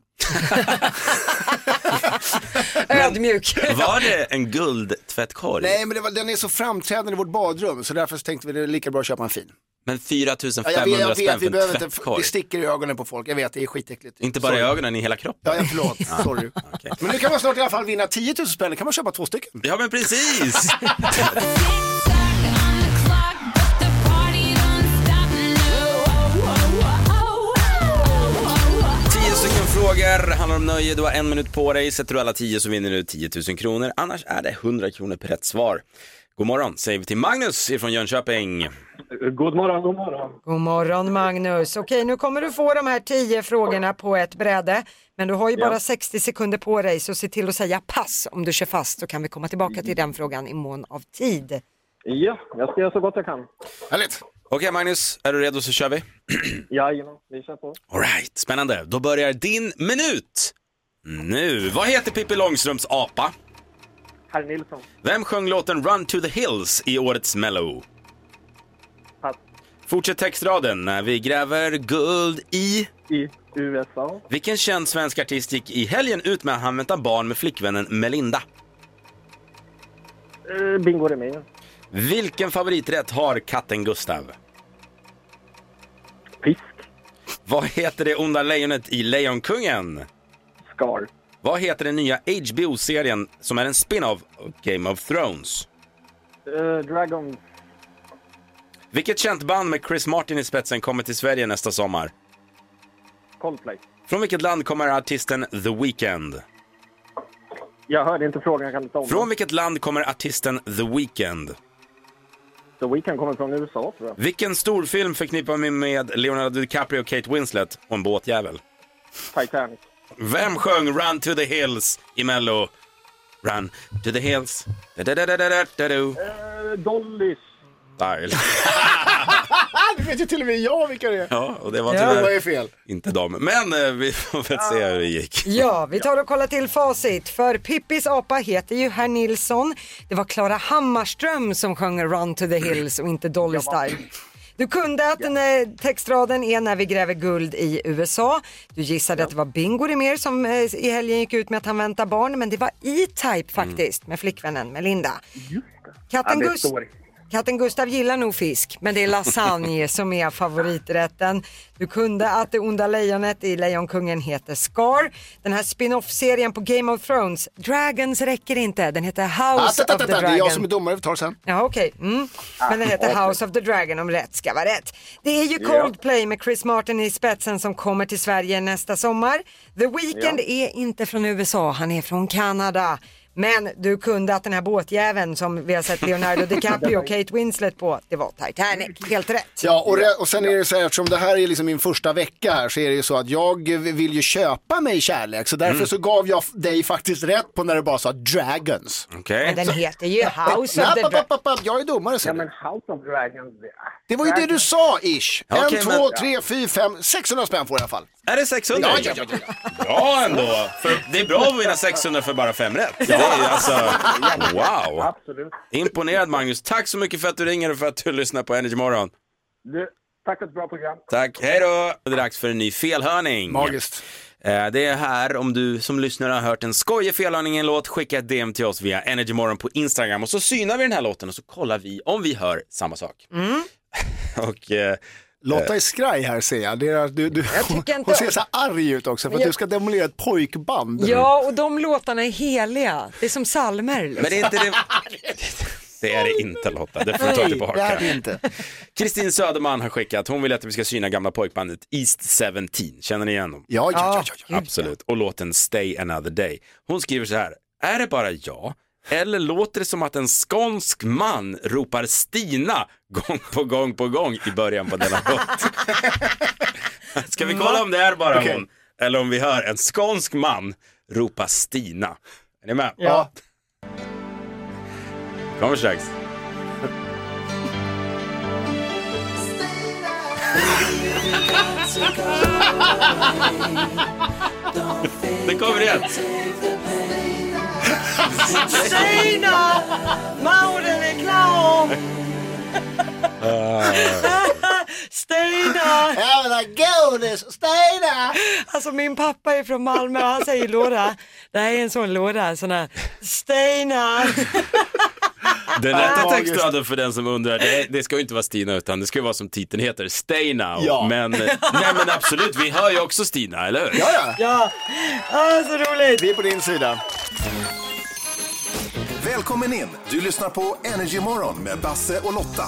Speaker 2: Ödmjuk.
Speaker 1: Var det en guldtvättkorg?
Speaker 3: Nej men det var, den är så framträdande i vårt badrum så därför så tänkte vi det är lika bra att köpa en fin.
Speaker 1: Men 4
Speaker 3: Ja, jag vet,
Speaker 1: 500
Speaker 3: jag
Speaker 1: spänn
Speaker 3: vet,
Speaker 1: för
Speaker 3: vi
Speaker 1: en
Speaker 3: behöver inte,
Speaker 1: tvättkorg?
Speaker 3: det sticker i ögonen på folk, jag vet det är skitäckligt.
Speaker 1: Inte bara Ah, i
Speaker 3: Sorry.
Speaker 1: ögonen, i hela kroppen?
Speaker 3: Ja, ja, förlåt. Sorry. Men nu kan man snart i alla fall vinna 10 000 spänn, då kan man köpa två stycken.
Speaker 1: Ja, men precis! Tio stycken frågor, handlar om nöje, du har en minut på dig. Sätter du alla tio så vinner du 10 000 kronor. Annars är det 100 kronor per rätt svar. God morgon säger vi till Magnus ifrån Jönköping.
Speaker 12: God morgon, god morgon.
Speaker 2: God morgon Magnus. Okej, nu kommer du få de här tio frågorna på ett bräde. Men du har ju
Speaker 12: Ja.
Speaker 2: bara 60 sekunder på dig så se till att säga pass om du kör fast så kan vi komma tillbaka
Speaker 1: Mm.
Speaker 2: till den frågan i mån av tid.
Speaker 12: Ja, jag ska göra så gott jag kan.
Speaker 3: Härligt.
Speaker 1: Okej Magnus, är du redo så kör vi.
Speaker 12: Jajamän, vi kör på.
Speaker 1: All right, spännande. Då börjar din minut nu. Vad heter Pippi Långstrumps apa?
Speaker 12: Herr Nilsson,
Speaker 1: Vem sjöng låten Run to the Hills i årets Mello?
Speaker 12: pass.
Speaker 1: Fortsätt textraden. När vi gräver guld i...
Speaker 12: I USA,
Speaker 1: Vilken känd svensk artist gick i helgen ut med att han väntar barn med flickvännen Melinda?
Speaker 12: eh, Bingo Rimér,
Speaker 1: Vilken favoriträtt har katten Gustav? Fisk. Vad heter det onda lejonet i Lejonkungen?
Speaker 12: Scar,
Speaker 1: Vad heter den nya HBO-serien som är en spin-off av Game of Thrones?
Speaker 12: eh, Dragon,
Speaker 1: Vilket känt band med Chris Martin i spetsen kommer till Sverige nästa sommar?
Speaker 12: Coldplay.
Speaker 1: Från vilket land kommer artisten The Weeknd?
Speaker 12: Jag hörde inte frågan, jag kan inte om
Speaker 1: Från
Speaker 12: den.
Speaker 1: vilket land kommer artisten The Weeknd?
Speaker 12: The Weeknd kommer från USA, tror jag.
Speaker 1: Vilken storfilm förknippar vi med Leonardo DiCaprio och Kate Winslet och en båtjävel?
Speaker 12: Titanic.
Speaker 1: Vem sjöng Run to the Hills i Mello? Run to the Hills. Da-da-da-da-da-da-do.
Speaker 12: Eh, Dollys.
Speaker 1: Dial.
Speaker 3: det vet ju till och med jag vilka det är.
Speaker 1: Ja, och det var
Speaker 3: Ja,
Speaker 1: tyvärr
Speaker 3: det var ju fel.
Speaker 1: inte dem. Men eh, vi får väl se hur det gick.
Speaker 2: Ja, vi tar och kollar till facit. För Pippis apa heter ju Herr Nilsson. Det var Klara Hammarström som sjöng Run to the Hills och inte Dolly Style. Du kunde att den eh, textraden är när vi gräver guld i USA. Du gissade att det var Bingo Rimér som eh, i helgen gick ut med att han väntar barn, men det var E-Type faktiskt med flickvännen Melinda. Katten,
Speaker 12: Ja, det är
Speaker 2: Gust-
Speaker 12: stor.
Speaker 2: Katten Gustav gillar nog fisk, men det är lasagne som är favoriträtten. Du kunde att det onda lejonet i Lejonkungen heter Scar. Den här spin-off-serien på Game of Thrones, Dragons räcker inte, den heter
Speaker 3: Ah, ta,
Speaker 2: House
Speaker 3: ta,
Speaker 2: of
Speaker 3: ta,
Speaker 2: the
Speaker 3: ta. Det är jag som är
Speaker 2: Dragon.
Speaker 3: domare, vi tar det sen.
Speaker 2: Ja, okej. Mm. Men den heter
Speaker 3: Ah,
Speaker 2: House of the Dragon om rätt ska vara rätt. Det är ju
Speaker 3: Ja.
Speaker 2: Coldplay med Chris Martin i spetsen som kommer till Sverige nästa sommar. The Weeknd
Speaker 12: Ja.
Speaker 2: är inte från USA, han är från Kanada. Men du kunde att den här båtjäveln som vi har sett Leonardo DiCaprio och Kate Winslet på, det var Titanic. Helt rätt.
Speaker 3: Ja, och, re- och sen är det så här, eftersom det här är liksom min första vecka här så är det ju så att jag vill ju köpa mig kärlek. Så därför
Speaker 1: Mm.
Speaker 3: så gav jag dig faktiskt rätt på när du bara sa Dragons. Äh,
Speaker 1: Okej.
Speaker 2: Men den heter ju House
Speaker 3: Nej,
Speaker 2: of the
Speaker 3: papp,
Speaker 2: Dragon.
Speaker 3: papp, papp, Jag är domare sen.
Speaker 12: House of Dragons.
Speaker 3: Det var ju det du sa ish.
Speaker 1: Ja, okej,
Speaker 3: en, två,
Speaker 1: men-
Speaker 3: tre, fyra, fem, 600 spänn får jag i alla fall.
Speaker 1: Är det 600?
Speaker 3: Ja, ja, ja,
Speaker 1: Bra ändå! För det är bra att vinna 600 för bara fem rätt. Det är ju alltså, wow!
Speaker 12: Absolut.
Speaker 1: Imponerad Magnus. Tack så mycket för att du ringer och för att du lyssnar på Energy Morgon.
Speaker 12: Du, tack för ett bra program.
Speaker 1: Tack, hej då! Det är dags för en ny felhörning.
Speaker 12: Magiskt.
Speaker 1: Eh, Det är här, om du som lyssnare har hört en skojig felhörning i en låt, skicka ett DM till oss via Energymorgon på Instagram och så synar vi den här låten och så kollar vi om vi hör samma sak.
Speaker 3: Mm.
Speaker 1: Och, eh,
Speaker 3: Lotta är skraj här ser jag. Det är, du, du, hon,
Speaker 2: tycker inte-
Speaker 3: hon ser så här arg ut också för
Speaker 2: Men
Speaker 3: att
Speaker 2: jag-
Speaker 3: du ska demolera ett pojkband.
Speaker 2: Ja, och de låtarna är heliga. Det är som psalmer. liksom.
Speaker 1: Men det är inte det... Det är det inte Lotta, det får du ta
Speaker 13: Nej,
Speaker 1: tillbaka.
Speaker 13: det är det inte.
Speaker 1: Kristin Söderman har skickat, hon vill att vi ska syna gamla pojkbandet East 17. Känner ni igen dem?
Speaker 3: Ja,
Speaker 13: ja, ja, ja,
Speaker 1: Absolut. Och låten Stay Another Day. Hon skriver så här, är det bara jag? Eller låter det som att en skånsk man ropar Stina gång på gång på gång i början på denna låt? Ska vi kolla om det är bara
Speaker 3: Okej.
Speaker 1: hon? Eller om vi hör en skånsk man ropa Stina. Är ni med?
Speaker 3: Ja.
Speaker 1: Kommer strax. Det kommer igen.
Speaker 13: Stina! Mauden är klar!
Speaker 2: Stina!
Speaker 13: Jag vill ha godis! Stina!
Speaker 2: Alltså min pappa är från Malmö och han säger låda. Det här är en sån låda, en sån här Stina!
Speaker 1: Den rätta textraden för den som undrar, det, det ska ju inte vara Stina utan det ska ju vara som titeln heter, Stay Now.
Speaker 13: Ja.
Speaker 1: Men, eh, nej men absolut, vi hör ju också Stina, eller hur?
Speaker 2: ja. Ah, så roligt!
Speaker 3: Vi är på din sida.
Speaker 4: Välkommen in! Du lyssnar på Energy Morgon med Basse och Lotta.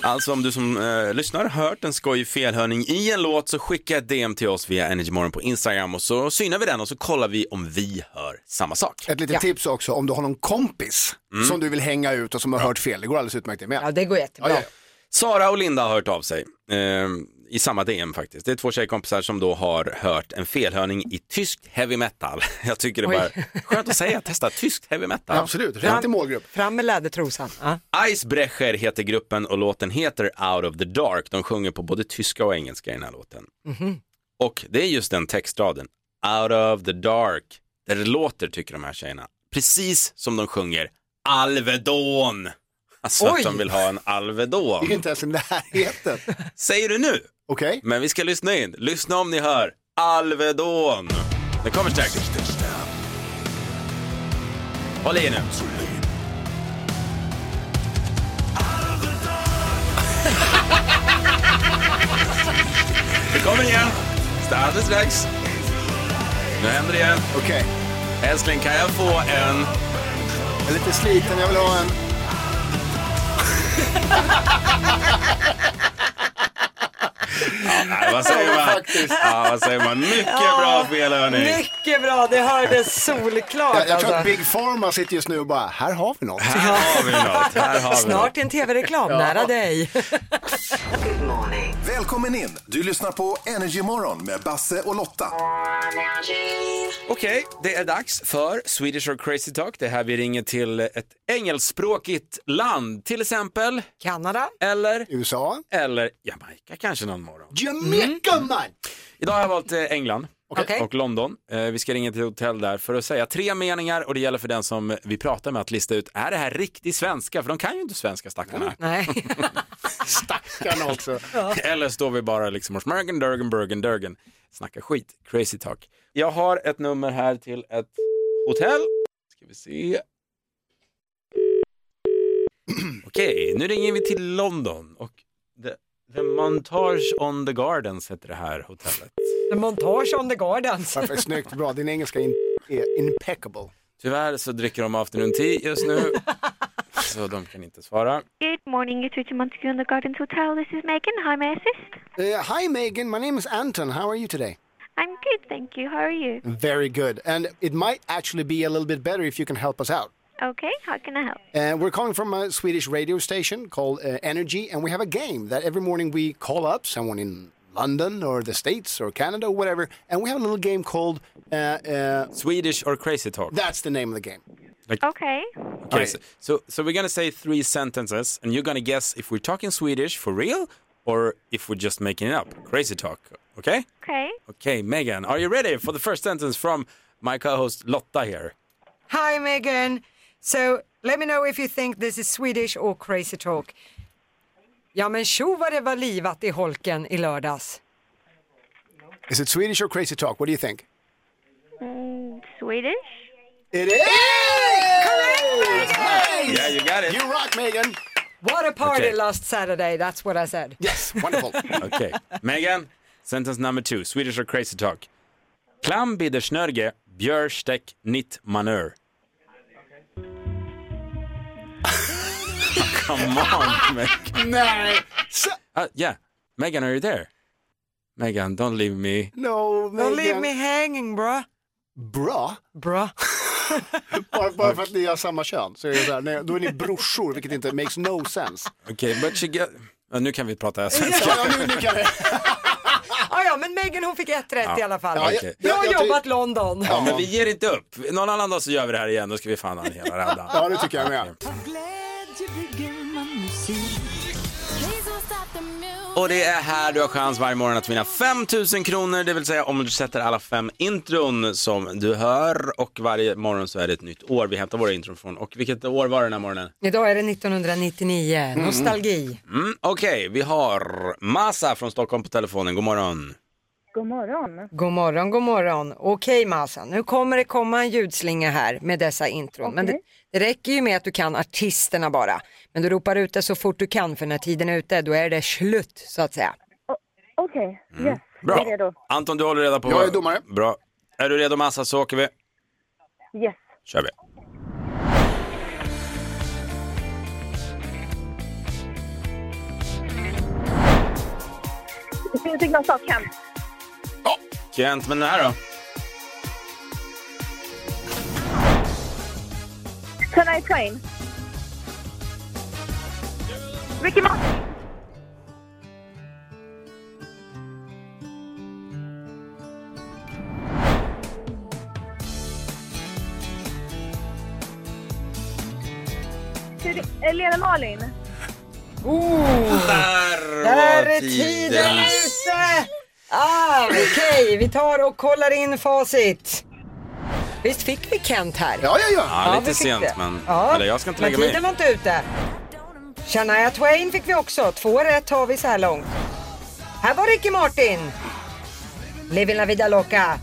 Speaker 1: Alltså om du som eh, lyssnar har hört en skojig felhörning i en låt så skicka ett DM till oss via Energymorgon på Instagram och så synar vi den och så kollar vi om vi hör samma sak.
Speaker 3: Ett litet tips också, om du har någon kompis som du vill hänga ut och som har hört fel, det går alldeles utmärkt det med. Ja,
Speaker 2: det går jättebra.
Speaker 1: Sara och Linda har hört av sig eh, i samma DM faktiskt. Det är två tjejkompisar som då har hört en felhörning i tysk heavy metal. Jag tycker det är bara skönt att säga, testa tyskt heavy metal. Ja.
Speaker 3: målgrupp.
Speaker 2: Fram med lädertrosan. Ja.
Speaker 1: Icebrecher heter gruppen och låten heter Out of the Dark. De sjunger på både tyska och engelska i den här låten.
Speaker 2: Mhm.
Speaker 1: Och det är just den textraden, Out of the Dark, där det låter tycker de här tjejerna. Precis som de sjunger Alvedon. Alltså
Speaker 3: Oj.
Speaker 1: att de vill ha en
Speaker 3: Det är ju
Speaker 1: Alvedon.
Speaker 3: inte ens i närheten.
Speaker 1: Säger du nu?
Speaker 3: Okej.
Speaker 1: Men vi ska lyssna in. Lyssna om ni hör Alvedon. Det kommer strax. Håll i nu. Det kommer igen. Det är Alldeles strax. Nu händer det igen.
Speaker 3: Okej.
Speaker 1: Älskling, kan jag få en...
Speaker 3: Jag är lite sliten, jag vill ha en...
Speaker 1: Nej, vad säger man? Ja, vad säger man? Mycket bra felhörning.
Speaker 2: Mycket bra, det hördes solklart.
Speaker 3: Jag, jag tror
Speaker 2: alltså.
Speaker 3: att Big Pharma sitter just nu och bara, här har vi något.
Speaker 1: Här har vi något. Här har vi
Speaker 2: Snart en tv-reklam
Speaker 4: Ja.
Speaker 2: nära dig.
Speaker 4: Välkommen in! Du lyssnar på Energy Morgon med Basse och Lotta.
Speaker 1: Okej, det är dags för Swedish or Crazy Talk. Det är här vi ringer till ett engelskspråkigt land, till exempel
Speaker 2: Kanada
Speaker 1: eller
Speaker 3: USA
Speaker 1: eller Jamaica kanske någon morgon.
Speaker 3: Jamaica man!
Speaker 1: Idag har jag valt eh, England
Speaker 3: Okej.
Speaker 1: och London. Eh, Vi ska ringa till ett hotell där för att säga tre meningar och det gäller för den som vi pratar med att lista ut, är det här riktig svenska? För de kan ju inte svenska stackarna.
Speaker 2: Nej.
Speaker 3: Stackarna också.
Speaker 1: Eller står vi bara liksom och smörgen, dörgen, burgen, dörgen. Snacka skit, crazy talk. Jag har ett nummer här till ett hotell. Ska vi se. Okej, nu ringer vi till London och the, the Montage on the Gardens heter det här hotellet.
Speaker 2: Montage on the Gardens.
Speaker 3: Perfekt, snyggt, bra. Din engelska in, är impeccable.
Speaker 1: Tyvärr så dricker de afternoon tea just nu, så de kan inte svara.
Speaker 14: Good morning, you're through to Montague in the Gardens Hotel. This is Megan. How may I assist?
Speaker 3: Eh, hi Megan, my name is Anton. How are you today?
Speaker 14: I'm good, thank you. How are you?
Speaker 3: Very good. And it might actually be a little bit better if you can help us out.
Speaker 14: Okay, how can I help?
Speaker 3: Uh, we're calling from a Swedish radio station called uh, Energy, and we have a game that every morning we call up someone in London or the States or Canada or whatever, and we have a little game called uh, uh,
Speaker 1: Swedish or Crazy Talk.
Speaker 3: That's the name of the game.
Speaker 14: Okay.
Speaker 1: Okay, so, so so we're gonna say three sentences, and you're gonna guess if we're talking Swedish for real or if we're just making it up. Crazy talk, okay?
Speaker 14: Okay.
Speaker 1: Okay, Megan, are you ready for the first sentence from my co-host Lotta here?
Speaker 2: Hi Megan. So let me know if you think this is Swedish or crazy talk. Ja men tjo vad det var livat i holken i lördags.
Speaker 3: Is it Swedish or Crazy Talk? What do you think?
Speaker 14: Mm, Swedish?
Speaker 3: It is! Correct, Megan!
Speaker 1: Yeah, you got it.
Speaker 3: You rock, Megan!
Speaker 2: What a party
Speaker 1: Okay.
Speaker 2: last Saturday, that's what I said.
Speaker 3: Yes, wonderful.
Speaker 1: Okay, Megan, sentence number two, Swedish or Crazy talk. Klam bider snörge, björstek nitt manör. Come on, Meg.
Speaker 3: Nej.
Speaker 1: Uh, yeah, Megan, are you there? Megan, don't leave me.
Speaker 3: No,
Speaker 2: Don't leave me hanging bra.
Speaker 3: Bra?
Speaker 2: Bra.
Speaker 3: bara, bara för att ni har samma kön så är det så här, nej, då är ni brorsor vilket inte makes no sense.
Speaker 1: Okej, okay, but she get... Ja, nu kan vi prata svenska.
Speaker 3: Ja, nu nickar det.
Speaker 2: Ah, ja, men Megan hon fick ett rätt
Speaker 1: Ja.
Speaker 2: i alla fall.
Speaker 1: Ja, okej.
Speaker 2: Bra
Speaker 1: Jag- jag
Speaker 2: jobbat London.
Speaker 1: Ja, men vi ger inte upp. Någon annan dag så gör vi det här igen, då ska vi fan ha en hela raddan.
Speaker 3: Ja, det tycker jag med.
Speaker 1: Och det är här du har chans varje morgon att vinna 5 000 kronor, det vill säga om du sätter alla fem intron som du hör. Och varje morgon så är det ett nytt år vi hämtar våra intron från. Och vilket år var det den här morgonen?
Speaker 2: Idag är det 1999, nostalgi.
Speaker 1: Mm, Okej, vi har Masa från Stockholm på telefonen. God morgon.
Speaker 15: God morgon.
Speaker 2: God morgon, god morgon. Okej Masa, nu kommer det komma en ljudslinga här med dessa intron. Men det,
Speaker 15: Okej.
Speaker 2: det räcker ju med att du kan artisterna bara. Men du ropar ut det så fort du kan för när tiden är ute då är det slut så att säga.
Speaker 15: Okej, yes.
Speaker 1: Bra.
Speaker 15: Jag är redo.
Speaker 1: Anton, du håller reda på...
Speaker 3: Jag är domare.
Speaker 1: Bra. Är du redo Massa så åker vi.
Speaker 15: Yes.
Speaker 1: kör vi.
Speaker 15: Det finns inga stadskamp.
Speaker 1: Kent, men den här då?
Speaker 15: Tonight Train. Ricky Martin. Tyd- eh, Lena Malin.
Speaker 2: Oh,
Speaker 1: där,
Speaker 2: där är tiden ute! Ah, Okej, vi tar och kollar in facit. Visst fick vi Kent här?
Speaker 3: Ja, ja, ja.
Speaker 1: Ja,
Speaker 2: vi
Speaker 1: lite
Speaker 2: fick
Speaker 1: sent,
Speaker 2: det.
Speaker 1: men-
Speaker 2: Ja,
Speaker 1: eller jag ska inte
Speaker 2: men
Speaker 1: lägga mig i.
Speaker 2: tiden var inte ute. Shania Twain fick vi också. Två rätt har vi så här långt. Här var Ricky Martin. Livin la vida loca.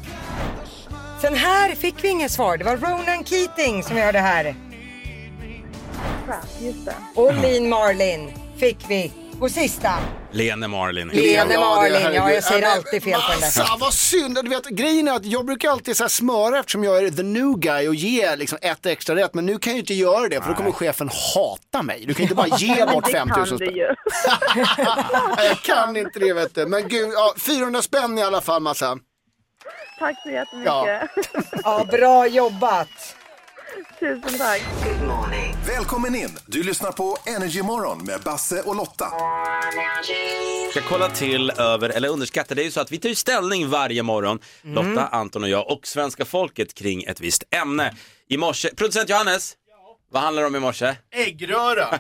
Speaker 2: Sen här fick vi inget svar. Det var Ronan Keating som gör det här.
Speaker 15: Crap, just det.
Speaker 2: Och Lean Marlin fick vi. Och sista.
Speaker 1: Lene Marlin.
Speaker 2: Lene Marlin, ja, jag säger
Speaker 3: men-
Speaker 2: alltid fel på den där.
Speaker 3: Massa, vad synd. Du vet, grejen är att jag brukar alltid så här smöra eftersom jag är the new guy och ge liksom ett extra rätt. Men nu kan jag ju inte göra det för då kommer chefen hata mig. Du kan ju inte bara ge bort 5 000
Speaker 15: Det kan du
Speaker 3: spänn.
Speaker 15: ju.
Speaker 3: Jag kan inte det vet du. Men gud, ja, 400 spänn i alla fall Massa.
Speaker 15: Tack så jättemycket.
Speaker 3: Ja.
Speaker 2: Ja, bra jobbat.
Speaker 15: Tusen tack.
Speaker 4: Välkommen in! Du lyssnar på Energy Morgon med Basse och Lotta.
Speaker 1: Ska kolla till över eller underskatta. Det är ju så att vi tar ju ställning varje morgon, Lotta, Anton och jag och svenska folket kring ett visst ämne. I morse, producent Johannes, vad handlar det om i morse?
Speaker 3: Äggröra.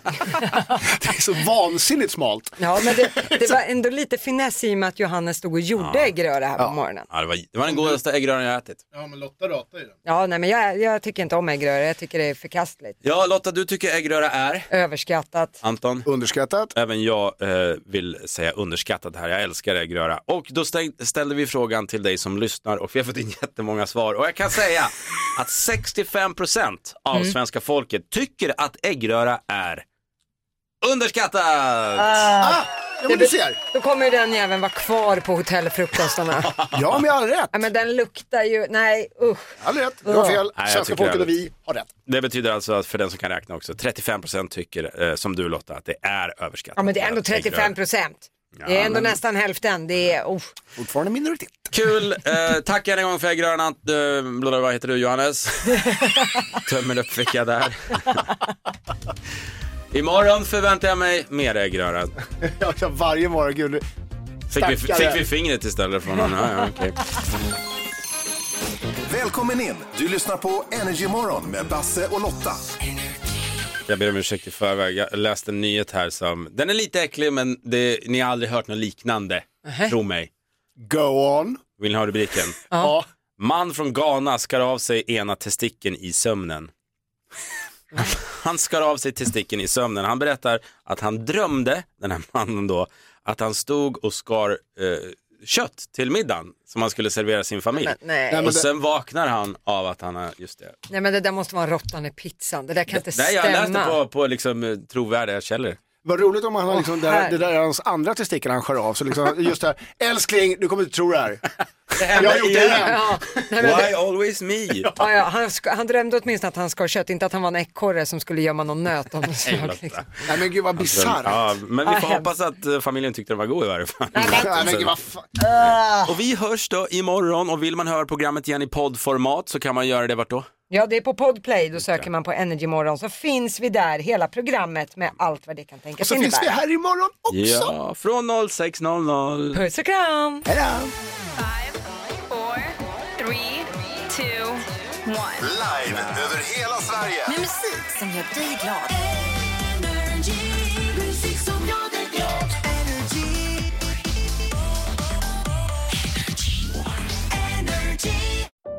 Speaker 3: det är så vansinnigt smalt.
Speaker 2: Ja, men det, det var ändå lite finess i och med att Johannes stod och gjorde äggröra här på morgonen.
Speaker 1: Ja, det, var, det var den godaste äggröran jag ätit.
Speaker 5: Ja, men Lotta ratar ju den.
Speaker 2: Ja, nej men jag, jag tycker inte om äggröra. Jag tycker det är förkastligt.
Speaker 1: Ja, Lotta, du tycker äggröra är?
Speaker 2: Överskattat.
Speaker 1: Anton?
Speaker 3: Underskattat.
Speaker 1: Även jag eh, vill säga underskattat här. Jag älskar äggröra. Och då stäng, ställde vi frågan till dig som lyssnar och vi har fått in jättemånga svar. Och jag kan säga att 65% av
Speaker 2: Mm.
Speaker 1: svenska folket tycker att äggröra är underskattat.
Speaker 2: Ah,
Speaker 3: ja, men du ser.
Speaker 2: Då kommer ju den jäveln vara kvar på hotellfrukostarna.
Speaker 3: Ja, men jag har rätt.
Speaker 2: Ja, men den luktar ju, nej usch.
Speaker 3: Jag hade rätt. Du har fel.
Speaker 1: Nej, jag
Speaker 3: Svenska
Speaker 1: tycker
Speaker 3: folket
Speaker 1: jag-
Speaker 3: och vi har rätt.
Speaker 1: Det betyder alltså att för den som kan räkna också, 35% tycker eh, som du Lotta att det är överskattat.
Speaker 2: Ja men det är ändå
Speaker 1: Äggröra.
Speaker 2: 35 procent. Det är ändå nästan hälften. Det är, usch.
Speaker 3: Fortfarande minoritet.
Speaker 1: Kul, eh, tack än en gång för äggröran. Ant- eh, blablabla, vad heter du Johannes? Tömmer upp ficka där. Imorgon förväntar jag mig mer äggröra.
Speaker 3: Jag kan varje morgon, gud.
Speaker 1: Fick vi,
Speaker 3: Stackare.
Speaker 1: fick vi fingret istället från honom? Ja, ja, okej.
Speaker 4: Välkommen in! Du lyssnar på Energy Morgon med Basse och Lotta.
Speaker 1: Jag ber om ursäkt i förväg. Jag läste en nyhet här som, den är lite äcklig men det, ni har aldrig hört något liknande. Tro mig.
Speaker 3: Go on.
Speaker 1: Vill ni ha rubriken?
Speaker 3: Ja.
Speaker 1: Man från Ghana skar av sig ena testikeln i sömnen. Han skar av sig testikeln i sömnen. Han berättar att han drömde, den här mannen då, att han stod och skar eh, kött till middagen som han skulle servera sin familj.
Speaker 2: Men, nej. Nej, men
Speaker 1: Och
Speaker 2: det-
Speaker 1: sen vaknar han av att han har, just det.
Speaker 2: Nej men det där måste vara en råttan i pizzan. Det där kan inte
Speaker 1: Det här
Speaker 2: stämma.
Speaker 1: jag läste på, på liksom, eh, trovärdiga källor.
Speaker 3: Vad roligt om han har liksom, det, här,
Speaker 15: här.
Speaker 3: det där är hans andra testikel han skär av. Så liksom, just det här, älskling, du kommer inte tro det här. Jag har gjort det igen.
Speaker 2: Ja, nej, men-
Speaker 1: Why always me?
Speaker 2: Ja, ja, han, sk- han drömde åtminstone att han skar kött, inte att han var en ekorre som skulle gömma någon nöt av något slag. Liksom.
Speaker 3: Nej men gud vad bisarrt.
Speaker 1: Alltså, Ja, men vi
Speaker 2: Ja,
Speaker 1: får
Speaker 2: hemskt.
Speaker 1: hoppas att eh, familjen tyckte den var god i varje fall.
Speaker 3: Nej, men gud, vad fan.
Speaker 1: Och vi hörs då imorgon och vill man höra programmet igen i poddformat så kan man göra det vart då?
Speaker 2: Ja, det är på Podplay, då söker man på Energy Morgon så finns vi där, hela programmet med allt vad det kan tänkas
Speaker 3: Och så finns vi
Speaker 2: innebära.
Speaker 3: här imorgon också.
Speaker 1: Ja, från 06.00.
Speaker 2: Puss och kram!
Speaker 16: Three, two, one.
Speaker 4: Live över hela Sverige.
Speaker 16: Med musik som gör dig glad. Energy, musik som gör dig glad. Energy.